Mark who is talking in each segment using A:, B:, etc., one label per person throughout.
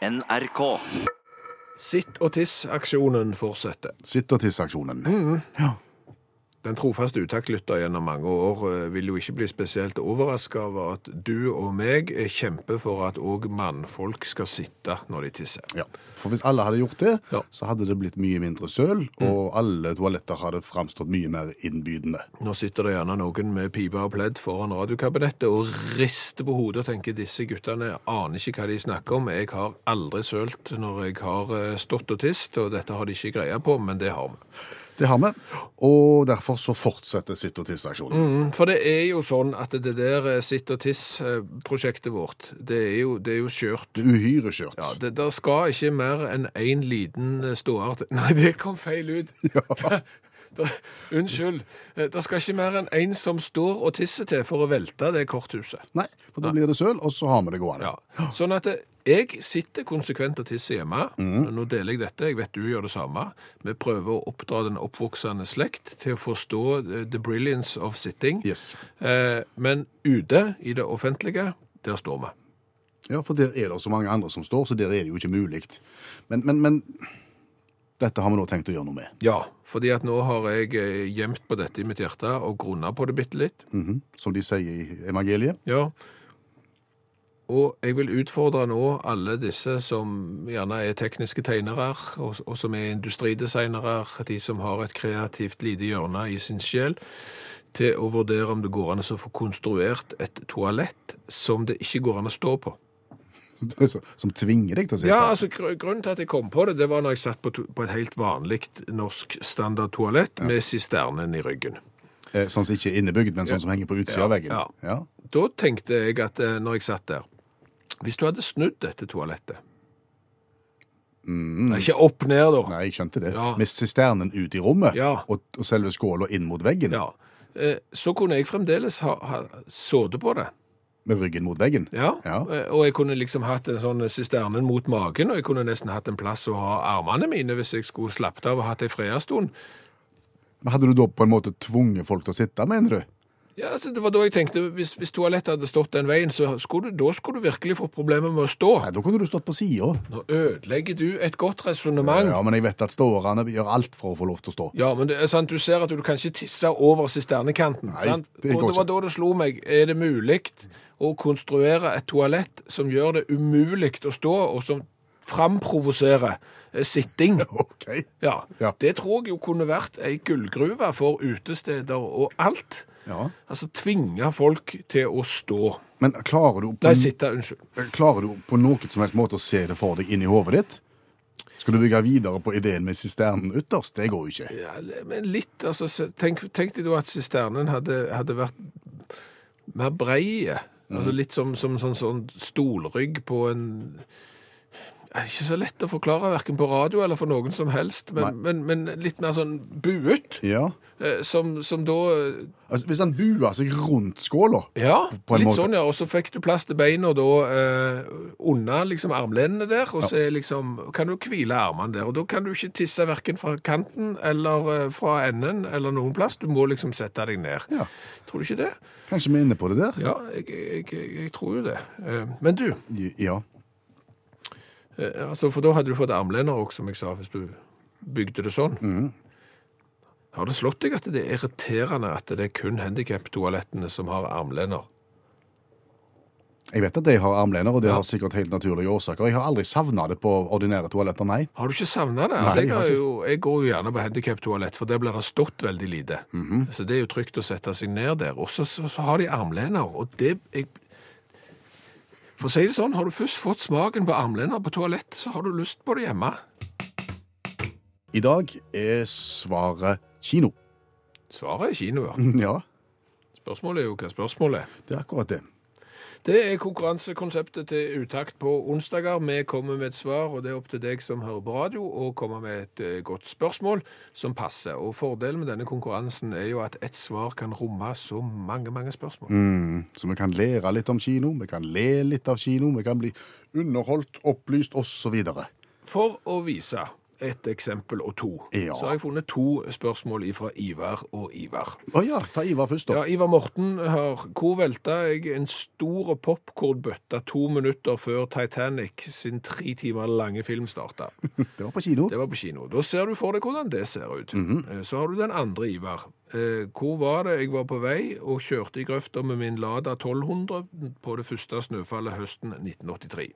A: NRK.
B: Sitt og tiss-aksjonen fortsetter.
C: Sittertissaksjonen.
B: Mm.
C: Ja.
B: Den trofaste utaktlytter gjennom mange år eh, vil jo ikke bli spesielt overraska over at du og meg eh, kjemper for at òg mannfolk skal sitte når de tisser.
C: Ja. For hvis alle hadde gjort det,
B: Ja. Mm.
C: så hadde det blitt mye mindre søl, og alle toaletter hadde framstått mye mer innbydende.
B: Nå sitter det gjerne noen med pipe og pledd foran radiokabinettet og rister på hodet og tenker disse guttene aner ikke hva de snakker om. Jeg har aldri sølt når jeg har eh, stått og tist, og dette har de ikke greie på, men det har vi.
C: Det har vi, og derfor så fortsetter sitt-og-tiss-aksjonen.
B: Mm, For det er jo sånn at det der eh, sitt og tiss-prosjektet vårt, det er jo, det er jo skjørt.
C: Uhyre skjørt.
B: Ja, det, der skal ikke mer enn én liten eh, ståer til Nei, det kom feil ut. Der, unnskyld. Eh, Det skal ikke mer enn én som står og tisser til for å velte det korthuset.
C: Nei, for da blir det søl, og så har vi det gående.
B: Ja. Sånn at eh, jeg sitter konsekvent og tisser hjemme. Nå deler jeg dette, jeg vet du gjør det samme. Vi prøver å oppdra den oppvoksende slekt til å forstå eh, the brilliance of sitting.
C: Yes.
B: Eh, men ute i det offentlige, der står vi.
C: Ja, for der er det så mange andre som står, så der er det jo ikke mulig. Men, men, men dette har vi nå tenkt å gjøre noe med.
B: Ja, fordi at nå har jeg eh, gjemt på dette i mitt hjerte og grunna på det bitte litt.
C: Mhm. Som de sier i evangeliet.
B: Ja. Og jeg vil utfordre nå alle disse som gjerne er tekniske tegnere, og, og som er industridesignere, de som har et kreativt lite hjørne i sin sjel, til å vurdere om det går an å få konstruert et toalett som det ikke går an å stå på.
C: Som tvinger deg til å sitte.
B: Ja, altså gr Grunnen til at jeg kom på det, det var når jeg satt på, to- på et helt vanlig norsk standardtoalett med sisternen i ryggen.
C: Eh, Sånn som ikke er innebygd, men sånn som henger på utsida av veggen.
B: ja.
C: Ja.
B: Da tenkte jeg at eh, når jeg satt der Hvis du hadde snudd dette toalettet Nei, Ikke opp ned, da.
C: Mm. Nei, jeg skjønte det.
B: Ja.
C: Med sisternen ut i rommet,
B: Ja.
C: og, og selve skåla inn mot veggen.
B: Ja. Eh, Så kunne jeg fremdeles ha, ha sittet på det.
C: Med ryggen mot veggen.
B: Ja.
C: Ja.
B: Eh, Og jeg kunne liksom hatt en sånn sisternen mot magen, og jeg kunne nesten hatt en plass å ha armene mine hvis jeg skulle slappet av og hatt ei freastund.
C: Men hadde du da på en måte tvunget folk til å sitte, mener du?
B: Ja, altså, det var da jeg tenkte hvis, hvis toalettet hadde stått den veien, så skulle du, da skulle du virkelig få problemer med å stå.
C: Nei, da kunne du stått på sida.
B: Nå ødelegger du et godt resonnement.
C: Ja, men jeg vet at ståerne gjør alt for å få lov til å stå.
B: Ja, men det er sant, du ser at du kan ikke tisse over sisternekanten.
C: Nei,
B: sant?
C: det går
B: Og det var
C: ikke.
B: da det slo meg, er det mulig å konstruere et toalett som gjør det umulig å stå, og som framprovoserer eh, sitting?
C: OK.
B: Ja.
C: Ja.
B: Det tror jeg jo kunne vært ei gullgruve for utesteder og alt.
C: Ja.
B: Altså tvinge folk til å stå.
C: Men klarer du, på,
B: Nei, sitte, unnskyld.
C: klarer du på noen som helst måte å se det for deg inni hodet ditt? Skal du bygge videre på ideen med sisternen ytterst? Det går jo ikke.
B: Ja, men litt, altså, se- tenk, tenk deg da at sisternen hadde, hadde vært mer breie. Altså litt som, som sånn, sånn stolrygg på en... Det er ikke så lett å forklare, hverken på radio eller for noen som helst, men, men, men litt mer sånn buet,
C: Ja.
B: eh, som, som da... eh,
C: Altså, hvis han buer seg rundt skåla
B: Ja,
C: på en
B: litt
C: måte.
B: sånn, ja. Og så fikk du plass til beina da eh, under liksom armlenene der, og så er liksom, kan du hvile armene der. Og da kan du ikke tisse hverken fra kanten eller eh, fra enden eller noen plass. Du må liksom sette deg ned.
C: Ja.
B: Tror du ikke det?
C: Kanskje vi er inne på det der?
B: Ja, jeg, jeg, jeg, jeg tror jo det. Eh, men du,
C: Ja.
B: eh, altså, for da hadde du fått armlener òg, som jeg sa, hvis du bygde det sånn.
C: Mm.
B: Har det slått deg at det er irriterende at det er kun handikaptoalettene som har armlener?
C: Jeg vet at de har armlener, og det har sikkert helt naturlige årsaker. Jeg har aldri savna det på ordinære toaletter, nei.
B: Har du ikke savna det? Altså,
C: Nei,
B: jeg,
C: jeg har
B: har
C: ikke.
B: jo, jeg går jo gjerne på handikaptoalett, for der blir det stått veldig lite.
C: Mhm.
B: Så det er jo trygt å sette seg ned der. Og så, så, så har de armlener, og det jeg, For å si det sånn, har du først fått smaken på armlener på toalett, så har du lyst på det hjemme.
C: I dag er svaret kino.
B: Svaret er kino, ja.
C: Ja,
B: Spørsmålet er jo hva spørsmålet er.
C: det er akkurat det.
B: Det er konkurransekonseptet til Utakt på onsdager. Vi kommer med et svar, og det er opp til deg som hører på radio, å komme med et eh, godt spørsmål som passer. Og Fordelen med denne konkurransen er jo at ett svar kan romme så mange mange spørsmål.
C: Mm, så vi kan lære litt om kino, vi kan le litt av kino, vi kan bli underholdt, opplyst osv.
B: For å vise ett eksempel og to.
C: Ja.
B: Så har jeg funnet to spørsmål fra Ivar og Ivar.
C: Å ja, ta Ivar først, da.
B: Ja, Ivar Morten har Hvor velta jeg en stor popkornbøtte to minutter før Titanic sin tre timer lange film starta?
C: Det var på kino.
B: Det var på kino. Da ser du for deg hvordan det ser ut. Eh, Så har du den andre, Ivar. Eh, Hvor var det jeg var på vei og kjørte i grøfta med min Lada 1200 på det første snøfallet høsten 1983?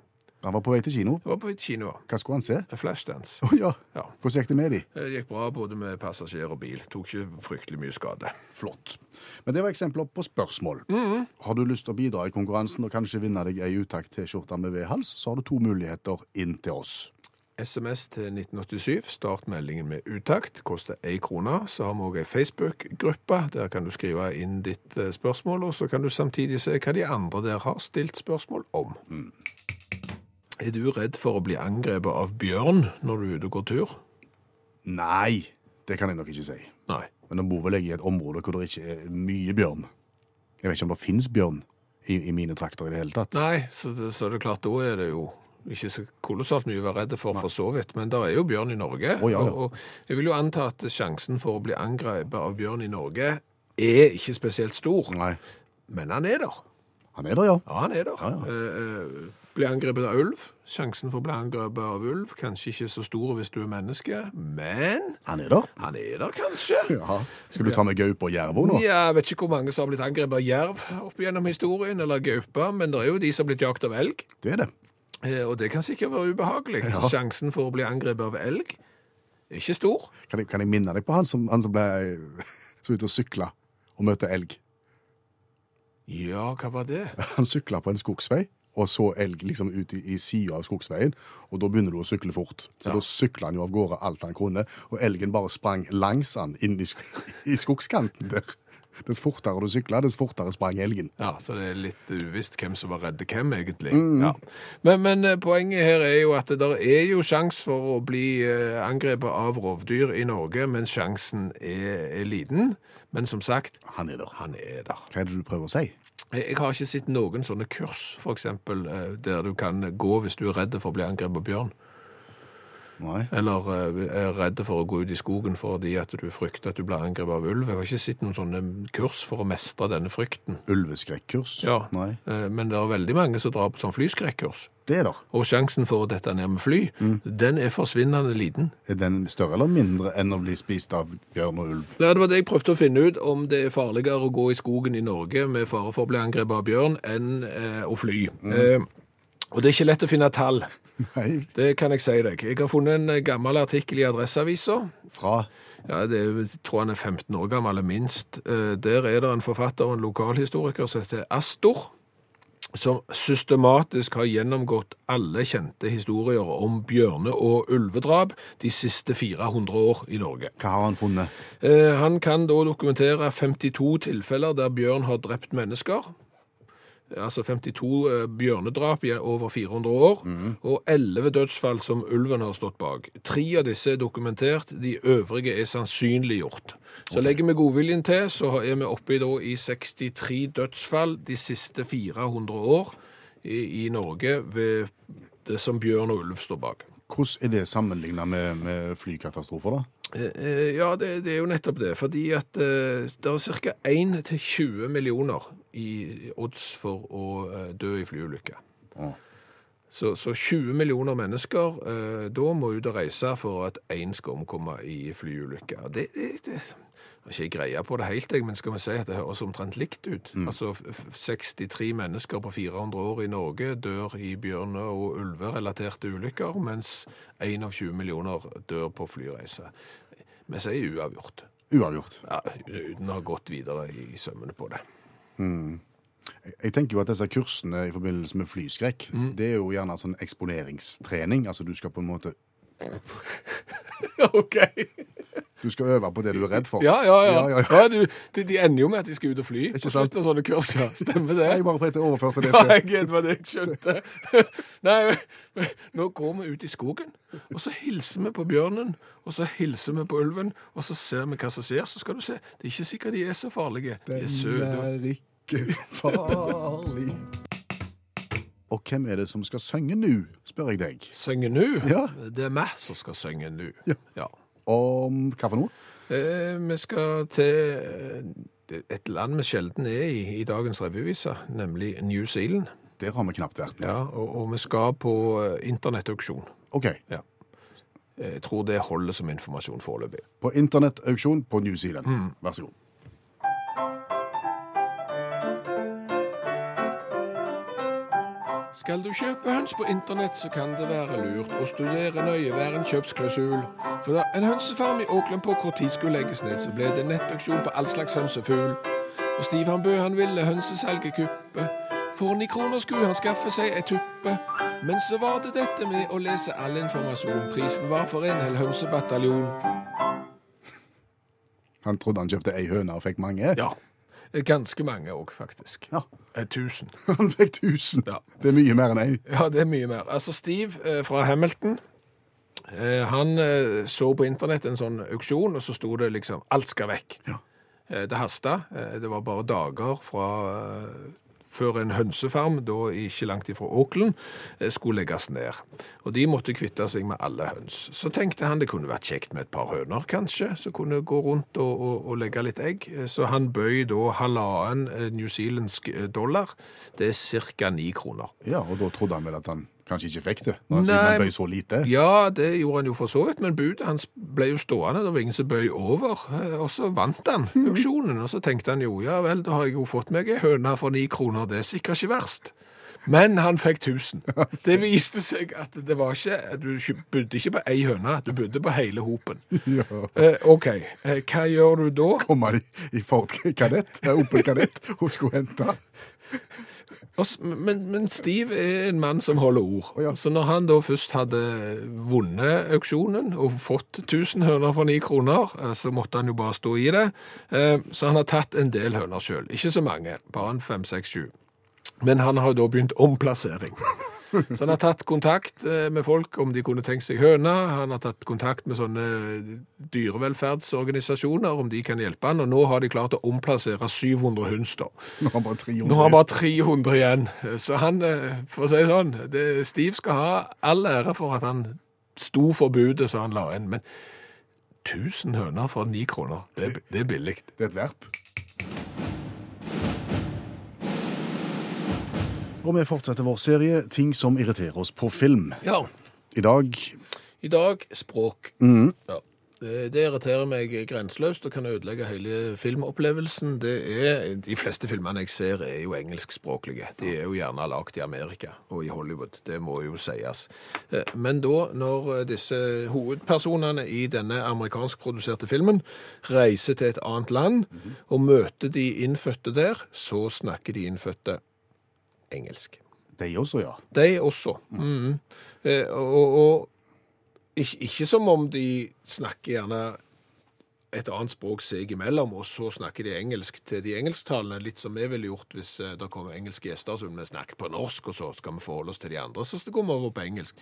C: Han var på vei til kino.
B: Det var på et kino.
C: Hva skulle han se?
B: Flashdance.
C: Å ja.
B: Ja.
C: Hvordan gikk det med de?
B: Det gikk bra både med passasjer og bil. Tok ikke fryktelig mye skade.
C: Flott. Men det var eksempler på spørsmål.
B: Mm.
C: Har du lyst til å bidra i konkurransen og kanskje vinne deg ei utakt-T-skjorte med V-hals, så har du to muligheter inn til oss.
B: SMS til 1987. Start meldingen med utakt. Koster ei krone. Så har vi òg ei Facebook-gruppe. Der kan du skrive inn ditt eh, spørsmål, og så kan du samtidig se hva de andre der har stilt spørsmål om. Er du redd for å bli angrepet av bjørn når du er ute og går tur?
C: Nei, det kan jeg nok ikke si.
B: Nei.
C: Men nå bor vel jeg i et område hvor det ikke er mye bjørn. Jeg vet ikke om det fins bjørn i, i mine trakter i det hele tatt.
B: Nei, så det, så det er klart, da er det jo ikke så kolossalt mye å være redd for, for så vidt. Men det er jo bjørn i Norge.
C: Å, ja, ja.
B: Og, og jeg vil jo anta at sjansen for å bli angrepet av bjørn i Norge er ikke spesielt stor.
C: Nei.
B: Men han er der.
C: Han er der, ja.
B: Ja, han er der.
C: Ja, ja.
B: Eh, eh, bli angrepet av ulv. Sjansen for å bli angrepet av ulv kanskje ikke så stor hvis du er menneske, men
C: Han er der.
B: han er der kanskje.
C: Jaha. Skal du ta med gaupe og jerv òg nå?
B: Ja, jeg vet ikke hvor mange som har blitt angrepet av jerv opp gjennom historien, eller gaupa, men det er jo de som har blitt jakt av elg.
C: Det er det.
B: Eh, Og det kan sikkert være ubehagelig.
C: Ja.
B: Sjansen for å bli angrepet av elg er ikke stor.
C: Kan jeg, kan jeg minne deg på han som, han som ble som var ute og sykla og møtte elg?
B: Ja, hva var det?
C: Han sykla på en skogsvei og så elg liksom ut i, i sida av skogsveien, og da begynner du å sykle fort. Så da sykla han jo av gårde alt han kunne, og elgen bare sprang langs han inn i, sk- i skogskanten der. Dess fortere du sykla, dess fortere sprang elgen.
B: Ja, Så det er litt uvisst hvem som var redde hvem, egentlig. Ja. Men, men eh, poenget her er jo at det der er jo sjanse for å bli eh, angrepet av rovdyr i Norge, men sjansen er, er liten. Men som sagt,
C: Han er der.
B: han er der.
C: Hva er det du prøver å si?
B: Jeg jeg har ikke sett noen sånne kurs, f.eks., der du kan gå hvis du er redd for å bli angrepet av bjørn.
C: Nei.
B: Eller eh, er redde for å gå ut i skogen fordi at du frykter at du blir angrepet av ulv. Jeg har ikke sett noen sånne kurs for å mestre denne frykten.
C: Ulveskrekkurs?
B: Ja.
C: Nei.
B: Eh, Men det er veldig mange som drar på sånn flyskrekkurs.
C: Det er der.
B: Og sjansen for å dette ned med fly, den er forsvinnende liten.
C: Er den større eller mindre enn å bli spist av bjørn og ulv?
B: Ja, det var det jeg prøvde å finne ut, om det er farligere å gå i skogen i Norge med fare for å bli angrepet av bjørn, enn eh, å fly. Eh, og det er ikke lett å finne tall.
C: Nei.
B: Det kan jeg si deg. Jeg har funnet en eh, gammel artikkel i Adresseavisa.
C: Fra
B: Ja, det er, jo- jeg tror han er 15 år gammel, eller minst. Eh, Der er det en forfatter og en lokalhistoriker som heter Astor, som systematisk har gjennomgått alle kjente historier om bjørne- og ulvedrap de siste 400 år i Norge.
C: Hva har han funnet?
B: Eh, Han kan da dokumentere 52 tilfeller der bjørn har drept mennesker. Altså 52 eh, bjørnedrap i over 400 år, og 11 dødsfall som ulven har stått bak. Tre av disse er dokumentert, de øvrige er sannsynliggjort. Så legger vi godviljen til, så er vi oppe i, da, i 63 dødsfall de siste 400 år i, i Norge ved det som bjørn og ulv står bak.
C: Hvordan er det sammenlignet med, med flykatastrofer, da?
B: Eh, eh, Ja, det, det er jo nettopp det. Fordi at eh, det er ca. 1 til 20 millioner i odds for å eh, dø i flyulykker.
C: Å.
B: Så, så 20 millioner mennesker eh, da må ut og reise for at én skal omkomme i flyulykker. Det, det, det jeg har ikke greie på det helt, jeg, men skal vi si at det høres omtrent likt ut? Altså f- f- 63 mennesker på 400 år i Norge dør i bjørne- og ulverelaterte ulykker, mens 21 millioner dør på flyreise. Vi sier uavgjort,
C: Uavgjort.
B: ja, uten å ha gått videre i sømmene på det.
C: Jeg tenker jo at disse kursene i forbindelse med flyskrekk,
B: Mm.
C: det er jo gjerne sånn eksponeringstrening. Altså du skal på en måte
B: OK!
C: Du skal øve på det du er redd for.
B: Ja, ja, ja.
C: ja, ja.
B: Ja, du, de, de ender jo med at de skal ut og fly.
C: Ikke
B: På
C: sant?
B: slutten av sånne kurs, ja. Stemmer det?
C: Jeg bare prøvde å overføre det
B: Ja,
C: til
B: jeg det var det jeg skjønte. Nei, men nå går vi ut i skogen, og så hilser vi på bjørnen, og så hilser vi på ulven, og så ser vi hva som skjer. Så skal du se, det er ikke sikkert de er så
C: eh,
B: farlige. De er søte.
C: Den er ikke farlig. Og hvem er det som skal synge nå, spør jeg deg.
B: Synge nu?
C: Ja.
B: Det er meg som skal synge nu.
C: Ja. Om hva for noe?
B: Eh, vi skal til eh, et land vi sjelden er i i dagens revyvise, nemlig New Zealand.
C: Der har vi knapt vært.
B: Ja, og, og vi skal på eh, internettauksjon.
C: OK.
B: Ja. Jeg tror det holder som informasjon foreløpig.
C: På internettauksjon på New Zealand.
B: Mm.
C: Vær så god.
B: Skal du kjøpe høns på internett, så kan det være lurt å studere nøye hver en kjøpsklausul. For da en hønsefarm i Auckland på kort tid skulle legges ned, så ble det nettauksjon på all slags hønsefugl. Og Stivan Bø han ville hønsesalget kuppe. For ni kroner skulle han skaffe seg ei tuppe. Men så var det dette med å lese all informasjon. Prisen var for en hel hønsebataljon.
C: Han trodde han kjøpte ei høne og fikk mange.
B: Ja. Ganske mange òg, faktisk.
C: Ja.
B: Eh, Tusen.
C: Han fikk 1000.
B: Ja.
C: Det er mye mer enn ei.
B: Ja, det er mye mer. Altså, Steve eh, fra Hamilton, eh, han eh, så på internett en sånn auksjon, og så sto det liksom, alt skal vekk. Eh, det hasta. Eh, det var bare dager fra eh, før en hønsefarm, da ikke langt ifra Auckland, eh, skulle legges ned. Og de måtte kvitte seg med alle høns. Så tenkte han det kunne vært kjekt med et par høner, kanskje, som kunne gå rundt og, og, og legge litt egg. Eh, Så han bøy da halvannen eh, newzealandsk eh, dollar. Det er ca. ni kroner.
C: Ja, og da trodde han vel at han kanskje ikke fikk det, når han sier
B: Nei.
C: han bøy så lite.
B: Ja, det gjorde han jo for så vidt, men budet hans ble jo stående. Det var ingen som bøy over, eh, og så vant han auksjonen. Og så tenkte han jo, ja vel, da har jeg jo fått meg ei høne for ni kroner, det er sikkert ikke verst. Men han fikk 1000. Det viste seg at det var ikke at Du ikke- budde ikke på ei høne, du budde på hele hopen.
C: Ja.
B: Eh, OK, eh, hva gjør du da?
C: Kom han i, i Ford Kadett, eh, Opel Kadett, og skulle hente.
B: Og s- Men, men Steve er en mann som holder ord.
C: Å, ja.
B: Så når han da først hadde vunnet auksjonen og fått 1000 høner for 9 kroner, eh, så måtte han jo bare stå i det. Eh, Så han har tatt en del høner sjøl. Ikke så mange, bare en fem, seks, sju. Men han har jo da begynt omplassering. Så han har tatt kontakt eh, med folk om de kunne tenkt seg høne. Han har tatt kontakt med sånne dyrevelferdsorganisasjoner om de kan hjelpe han. Og nå har de klart å omplassere 700 høns, da.
C: Så nå har han bare 300.
B: Nå har han bare 300 igjen, så han, eh, for å si det sånn, det, Steve skal ha all ære for at han sto for budet som han la inn, men 1000 høner for 9 kroner, det, det er billig.
C: Det er et verp. Og vi fortsetter vår serie Ting som irriterer oss på film.
B: Ja,
C: I dag
B: i dag språk. Ja. Det det irriterer meg grenseløst og kan ødelegge hele filmopplevelsen. Det er, de fleste filmene jeg ser er jo engelskspråklige. De er jo gjerne lagt i Amerika og i Hollywood, det må jo sies. Eh, Men da, når disse hovedpersonene i denne amerikanskproduserte filmen reiser til et annet land og møter de innfødte der, så snakker de innfødte engelsk.
C: De også, ja.
B: De også. Mhm. Eh, og og ikke, ikke som om de snakker gjerne et annet språk seg imellom, og så snakker de engelsk til de engelsktalende, litt som vi ville gjort hvis eh, det kommer engelske gjester, så ville vi snakket på norsk, og så skal vi forholde oss til de andre, så går vi over på engelsk.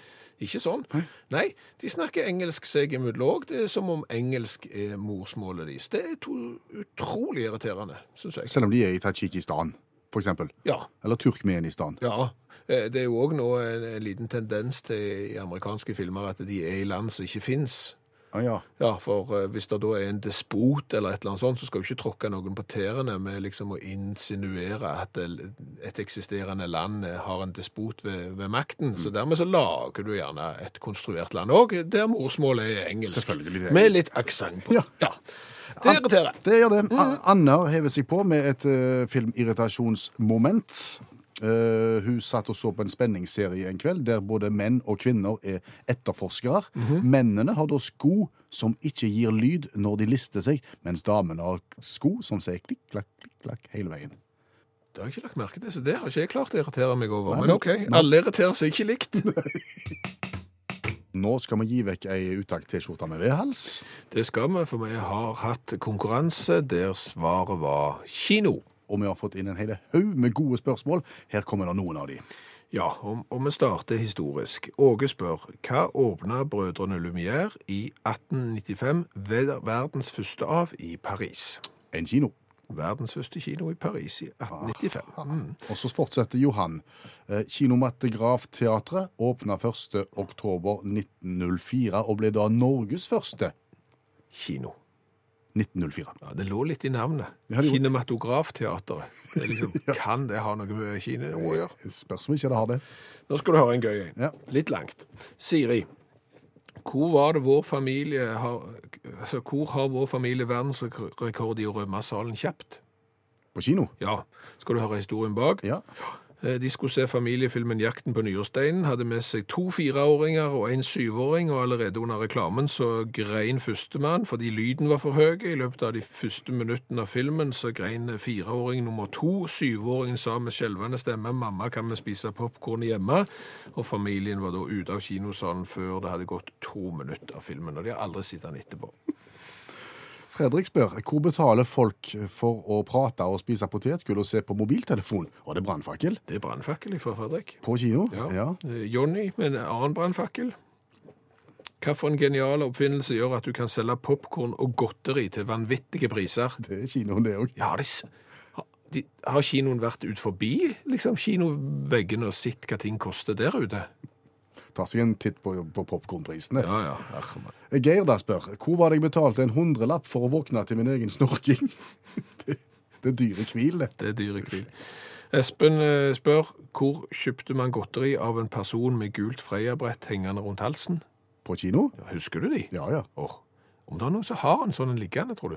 B: Ikke sånn. Nei, de snakker engelsk seg imellom òg. Det er som om engelsk er morsmålet deres. Det er to, utrolig irriterende, syns jeg.
C: Selv om de er i Tadsjikistan, for eksempel.
B: Ja.
C: Eller Turkmenistan.
B: Ja, eh, det er jo òg nå en, en liten tendens til i amerikanske filmer at de er i land som ikke fins.
C: Ja, Ah, ja.
B: Ja, for eh, hvis det da er en despot eller et eller annet sånt, så skal du ikke tråkke noen på tærne med liksom å insinuere at det- et eksisterende land eh, har en despot ved, ved makten.
C: Mm.
B: Så dermed så lager du gjerne et konstruert land òg, der morsmålet er engelsk.
C: Selvfølgelig, det er
B: Med
C: engelsk.
B: litt aksent på.
C: Ja.
B: Ja. Det irriterer.
C: Det gjør det. A- Anna hever seg på med et eh, filmirritasjonsmoment. Eh, hun satt og så på en spenningsserie en kveld der både menn og kvinner er etterforskere. Mennene har da sko som ikke gir lyd når de lister seg, mens damene har sko som sier klikk, klakk, klikk, klakk hele veien.
B: Det har jeg ikke lagt merke til, så det har ikke jeg klart å irritere meg over.
C: Nei,
B: Men
C: men-
B: OK, alle irriterer seg ikke likt.
C: Nå skal vi gi vekk ei utakt-T-skjorte med V-hals.
B: Det skal vi, for vi har hatt konkurranse der svaret var kino.
C: Og vi har fått inn en hel haug med gode spørsmål. Her kommer da noen av de.
B: Ja, og, og vi starter historisk. Åge spør hva åpna brødrene Lumière i 1895 ved verdens første av i Paris?
C: En kino.
B: Verdens første kino i Paris i
C: Ah.
B: 1895. Mm.
C: Og så fortsetter Johan. Eh, Kinematografteatret åpna 1. oktober 1904, og ble da Norges første
B: Kino.
C: 1904.
B: Ja, Det lå litt i navnet.
C: Ja, det gjorde-
B: Kinematografteatret. Det er liksom, Kan det ha noe med Kina å gjøre?
C: Spørs om ikke det har det.
B: Nå skal du høre en gøy en.
C: Ja.
B: Litt langt. Siri. Hvor var det vår familie har, altså, hvor har vår familie verdensrekord i å rømme salen kjapt?
C: På kino?
B: Ja, skal du høre historien bak?
C: Ja.
B: Eh, De skulle se familiefilmen Jakten på Nyresteinen, hadde med seg to fireåringer og en syvåring, og allerede under reklamen så grein førstemann fordi lyden var for høy. I løpet av de første minuttene av filmen så grein fireåring nummer to. Syvåringen sa med skjelvende stemme 'Mamma, kan vi spise popkorn hjemme?' Og familien var da ute av kinosalen før det hadde gått to minutter av filmen, og de har aldri sett den etterpå.
C: Fredrik spør hvor betaler folk for å prate og spise potetgull og se på mobiltelefon? Og det er brannfakkel
B: Det er brannfakkel fra Fredrik.
C: på kino?
B: Ja. Eh, Johnny med en annen brannfakkel. Hvilken genial oppfinnelse gjør at du kan selge popkorn og godteri til vanvittige priser?
C: Det er kinoen, det òg.
B: Ja, har de, s- har- de, har kinoen vært ut forbi liksom, kinoveggene og sett hva ting koster der ute?
C: Ta seg en titt på, på popkornprisene. Eh,
B: Ja, ja. herre mann.
C: Geir da spør hvor var det jeg betalte en hundrelapp for å våkne til min egen snorking? det, det er dyre hvil, det.
B: Det er dyre hvil. Espen eh, spør hvor kjøpte man godteri av en person med gult Freia-brett hengende rundt halsen?
C: På kino?
B: Ja, husker du de?
C: Ja, ja.
B: Åh, om det er noen som har en sånn en liggende, tror du?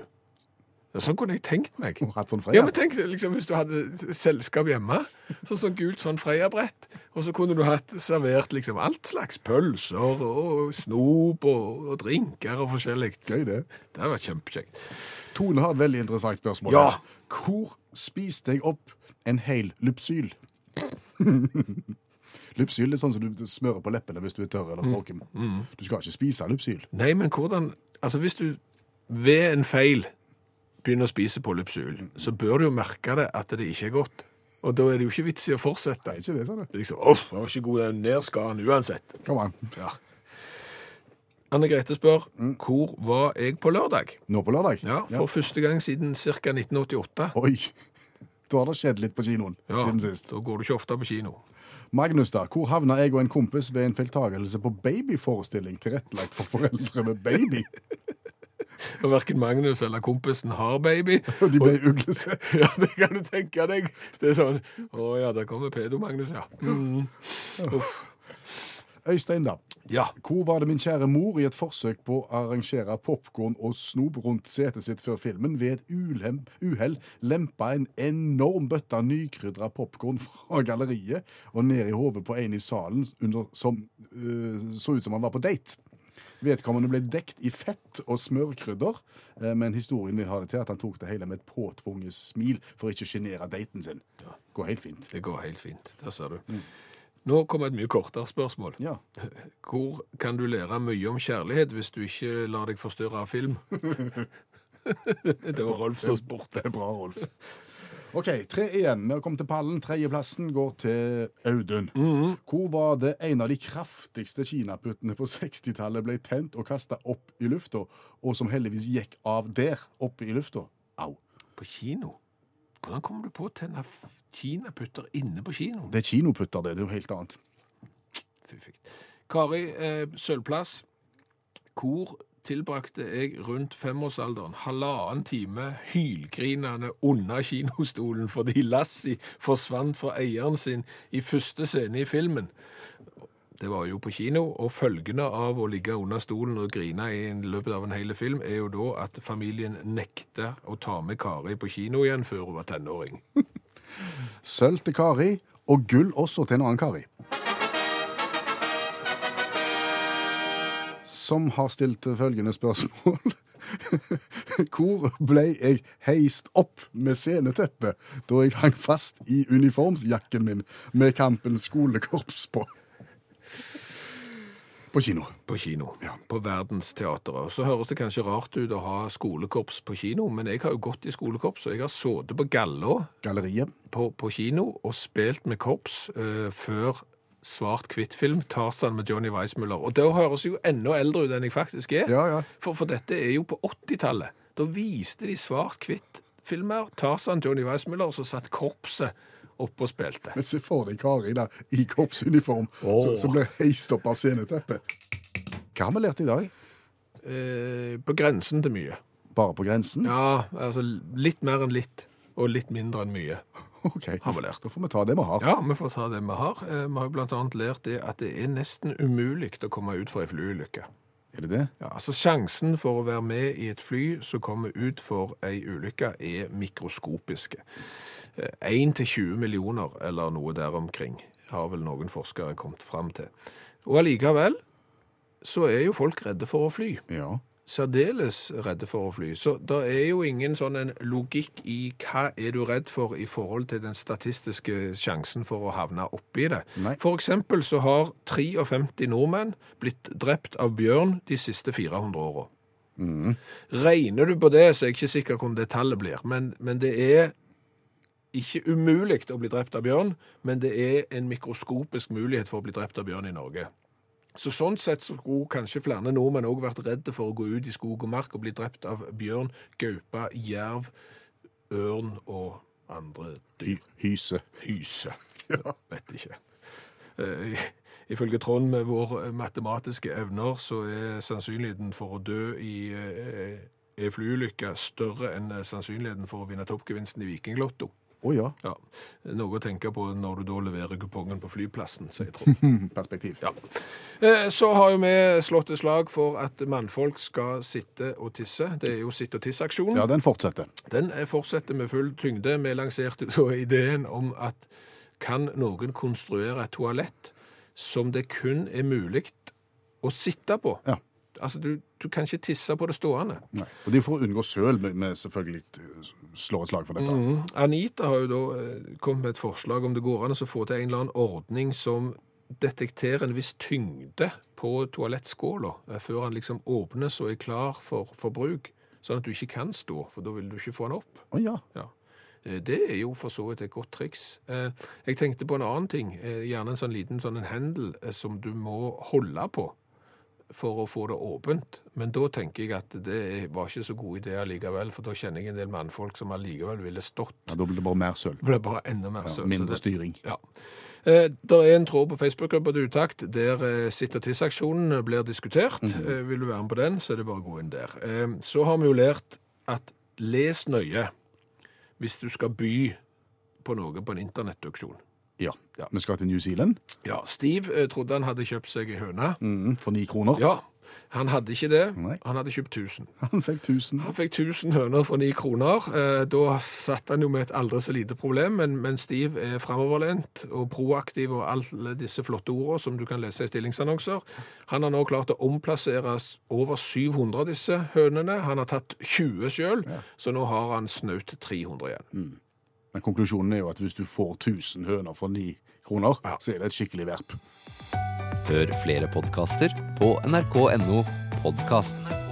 B: Ja, sånn kunne jeg tenkt meg.
C: Og hatt sånn
B: Ja,
C: freia.
B: men tenk liksom, hvis du hadde selskap hjemme, så sånn gult sånn freia-brett, og så kunne du hatt servert liksom alt slags pølser og snop og, og drinker og forskjellig. Det
C: Gøy, det.
B: hadde vært kjempekjekt.
C: Tone har et veldig interessant spørsmål.
B: Ja.
C: her. Hvor spiste jeg opp en hel lypsyl? lypsyl er sånn som du- du smører på leppene hvis du er tørr eller
B: Mm.
C: våken. Du skal ikke spise lypsyl.
B: Nei, men hvordan, altså hvis du ved en feil begynner å spise polypsyl, så bør du jo merke det at det ikke er godt. Og da er det jo ikke vits i å fortsette.
C: Det er ikke det, sa du.
B: Det er Liksom, uff, jeg var ikke god, den ned skal han uansett.
C: Kom an.
B: Ja. Anne Grete spør, hvor var jeg på lørdag?
C: Nå på lørdag?
B: Ja, for første gang siden ca. 1988.
C: Oi! Da har det skjedd litt på kinoen
B: Ja,
C: siden sist.
B: da går du ikke ofte på kino.
C: Magnus, da. Hvor havna jeg og en kompis ved en feiltagelse på babyforestilling tilrettelagt for foreldre med baby?
B: Og hverken Magnus eller kompisen har baby.
C: Og de ble uglesett.
B: Ja, det kan du tenke deg. Det er sånn, å ja, der kommer pedo-Magnus, ja. Mm. Uff.
C: Øystein, da.
B: Ja,
C: Hvor var det min kjære mor i et forsøk på å arrangere popkorn og snop rundt setet sitt før filmen ved et ulem- uhell lempa en enorm bøtte nykrydra popkorn fra galleriet og ned i hodet på en i salen under, som øh, så ut som han var på date? Vedkommende ble dekt i fett og smørkrydder, eh, men historien vil ha det til at han tok det hele med et påtvunget smil for ikke å sjenere daten sin. Går helt fint.
B: det går helt fint. Der ser du. Nå kommer et mye kortere spørsmål.
C: Mm. Ja.
B: Hvor kan du lære mye om kjærlighet hvis du ikke lar deg forstørre av film? det var Rolf som spurte.
C: Det er bra, Rolf. OK, tre igjen. Vi har kommet til pallen. Tredjeplassen går til Audun. Hvor var det en av de kraftigste kinaputtene på 60-tallet ble tent og kasta opp i lufta, og som heldigvis gikk av der, oppe i lufta? Au.
B: På kino? Hvordan kommer du på å tenne f- kinaputter inne på kino?
C: Det er kinoputter, det. Det er jo helt annet.
B: Fiffig. Kari eh, Sølvplass, hvor tilbrakte jeg rundt femårsalderen halvannen time hylgrinende under kinostolen fordi Lassie forsvant fra eieren sin i første scene i filmen. Det var jo på kino, og følgene av å ligge under stolen og grine i en- løpet av en hel film er jo da at familien nekter å ta med Kari på kino igjen før hun var tenåring.
C: Sølv til Kari, og gull også til en annen Kari. Som har stilt følgende spørsmål. Hvor ble jeg heist opp med sceneteppet da jeg hang fast i uniformsjakken min med kampen skolekorps på? På kino.
B: På kino. På Verdensteatret. Og så høres det kanskje rart ut å ha skolekorps på kino, men jeg har jo gått i skolekorps, og jeg har sittet på galla
C: Galleriet.
B: på, på kino og spilt med korps eh, før svart-hvitt-film, Tarzan med Johnny Weissmuller. Og da høres jeg jo enda eldre ut enn jeg faktisk er.
C: Ja, ja.
B: For, for dette er jo på 80-tallet. Da viste de svart-hvitt filmer. Tarzan, Johnny Weissmuller, så satt korpset oppe og spilte.
C: Men se for deg Kari der i korpsuniform
B: Åh.
C: som- som ble heist opp av sceneteppet. Hva har vi lært i dag?
B: Eh, på grensen til mye.
C: Bare på grensen?
B: Ja, altså litt mer enn litt, og litt mindre enn mye.
C: OK,
B: Har vi lært.
C: da får vi ta det vi har.
B: Ja, vi får ta det vi har. Eh, Vi har jo blant annet lært det at det er nesten umulig å komme ut fra en flyulykke.
C: Er det det?
B: Ja, altså sjansen for å være med i et fly som kommer ut for ei ulykke er Eh, mikroskopiske. 1-20 millioner eller noe der omkring, har vel noen forskere kommet fram til. Og allikevel så er jo folk redde for å fly.
C: Ja.
B: Særdeles redde for å fly. Så det er jo ingen sånn en logikk i hva er du redd for i forhold til den statistiske sjansen for å havne oppi det.
C: Nei.
B: For eksempel så har 53 nordmenn blitt drept av bjørn de siste 400 åra. Regner du på det, så er jeg ikke sikker hvordan det tallet blir, men, men det er ikke umulig å bli drept av bjørn, men det er en mikroskopisk mulighet for å bli drept av bjørn i Norge. Så sånn sett så skulle kanskje flere nordmenn òg vært redde for å gå ut i skog og mark og bli drept av bjørn, gaupe, jerv, ørn og andre dyr.
C: Hy hyse.
B: Hyse. Vet ikke. Eh, Ifølge Trond med våre eh, matematiske evner så er sannsynligheten for å dø i eh, en flyulykke større enn eh, sannsynligheten for å vinne toppgevinsten i Vikinglotto.
C: Å ja.
B: Ja, Noe å tenke på når du da leverer kupongen på flyplassen, sier Trond.
C: Hmm, Perspektiv.
B: Mhm. Ja. Eh, Så har jo vi slått et slag for at mannfolk skal sitte og tisse. Det er jo sitte og tisse-aksjonen.
C: Ja, den fortsetter.
B: Den er- fortsetter med full tyngde. Vi lanserte så ideen om at kan noen konstruere et toalett som det kun er mulig å sitte på?
C: Ja.
B: Altså, du, du kan ikke tisse på det stående.
C: Nei. Og det er for å unngå søl, men vi selvfølgelig eh, slår et slag for dette.
B: Mhm. Anita har jo da eh, kommet med et forslag om det går an å få til en eller annen ordning som detekterer en viss tyngde på toalettskåla eh, før han liksom åpnes og er klar for, for bruk, sånn at du ikke kan stå, for da vil du ikke få han opp.
C: Å ja.
B: Ja. Eh, Det er jo for så vidt et godt triks. Eh, Jeg tenkte på en annen ting. eh, Gjerne en sånn liten sånn en hendel eh, som du må holde på for å få det åpent. Men da tenker jeg at det var ikke så god idé allikevel, for da kjenner jeg en del mannfolk som allikevel ville stått.
C: ja. Da blir det bare mer søl.
B: Det ble bare enda mer
C: Ja,
B: søt. så
C: mindre
B: det-
C: styring.
B: ja. Eh, Det er en tråd på Facebook-gruppa til Utakt der eh, sitt- og tiss-aksjonen blir diskutert. Eh, Vil du være med på den, så er det bare å gå inn der. Eh, Så har vi jo lært at les nøye hvis du skal by på noe på en internettauksjon.
C: Ja.
B: Ja.
C: Vi skal til New Zealand
B: Ja, Steve eh, trodde han hadde kjøpt seg ei høne.
C: Mhm, for ni kroner.
B: Ja, han hadde ikke det.
C: Nei.
B: Han hadde kjøpt 1000.
C: Han fikk 1000.
B: Han fikk 1000 høner for 9 kroner. Eh, Da satt han jo med et aldri så lite problem, men, men Stiv er framoverlent og proaktiv og alle disse flotte ordene som du kan lese i stillingsannonser. Han har nå klart å omplassere s- over 700 av disse hønene. Han har tatt 20 selv, så nå har han snaut 300 igjen.
C: Men konklusjonen er jo at hvis du får 1000 høner for ni kroner, så er det et skikkelig verp.
A: Hør flere podkaster på nrk.no podkast.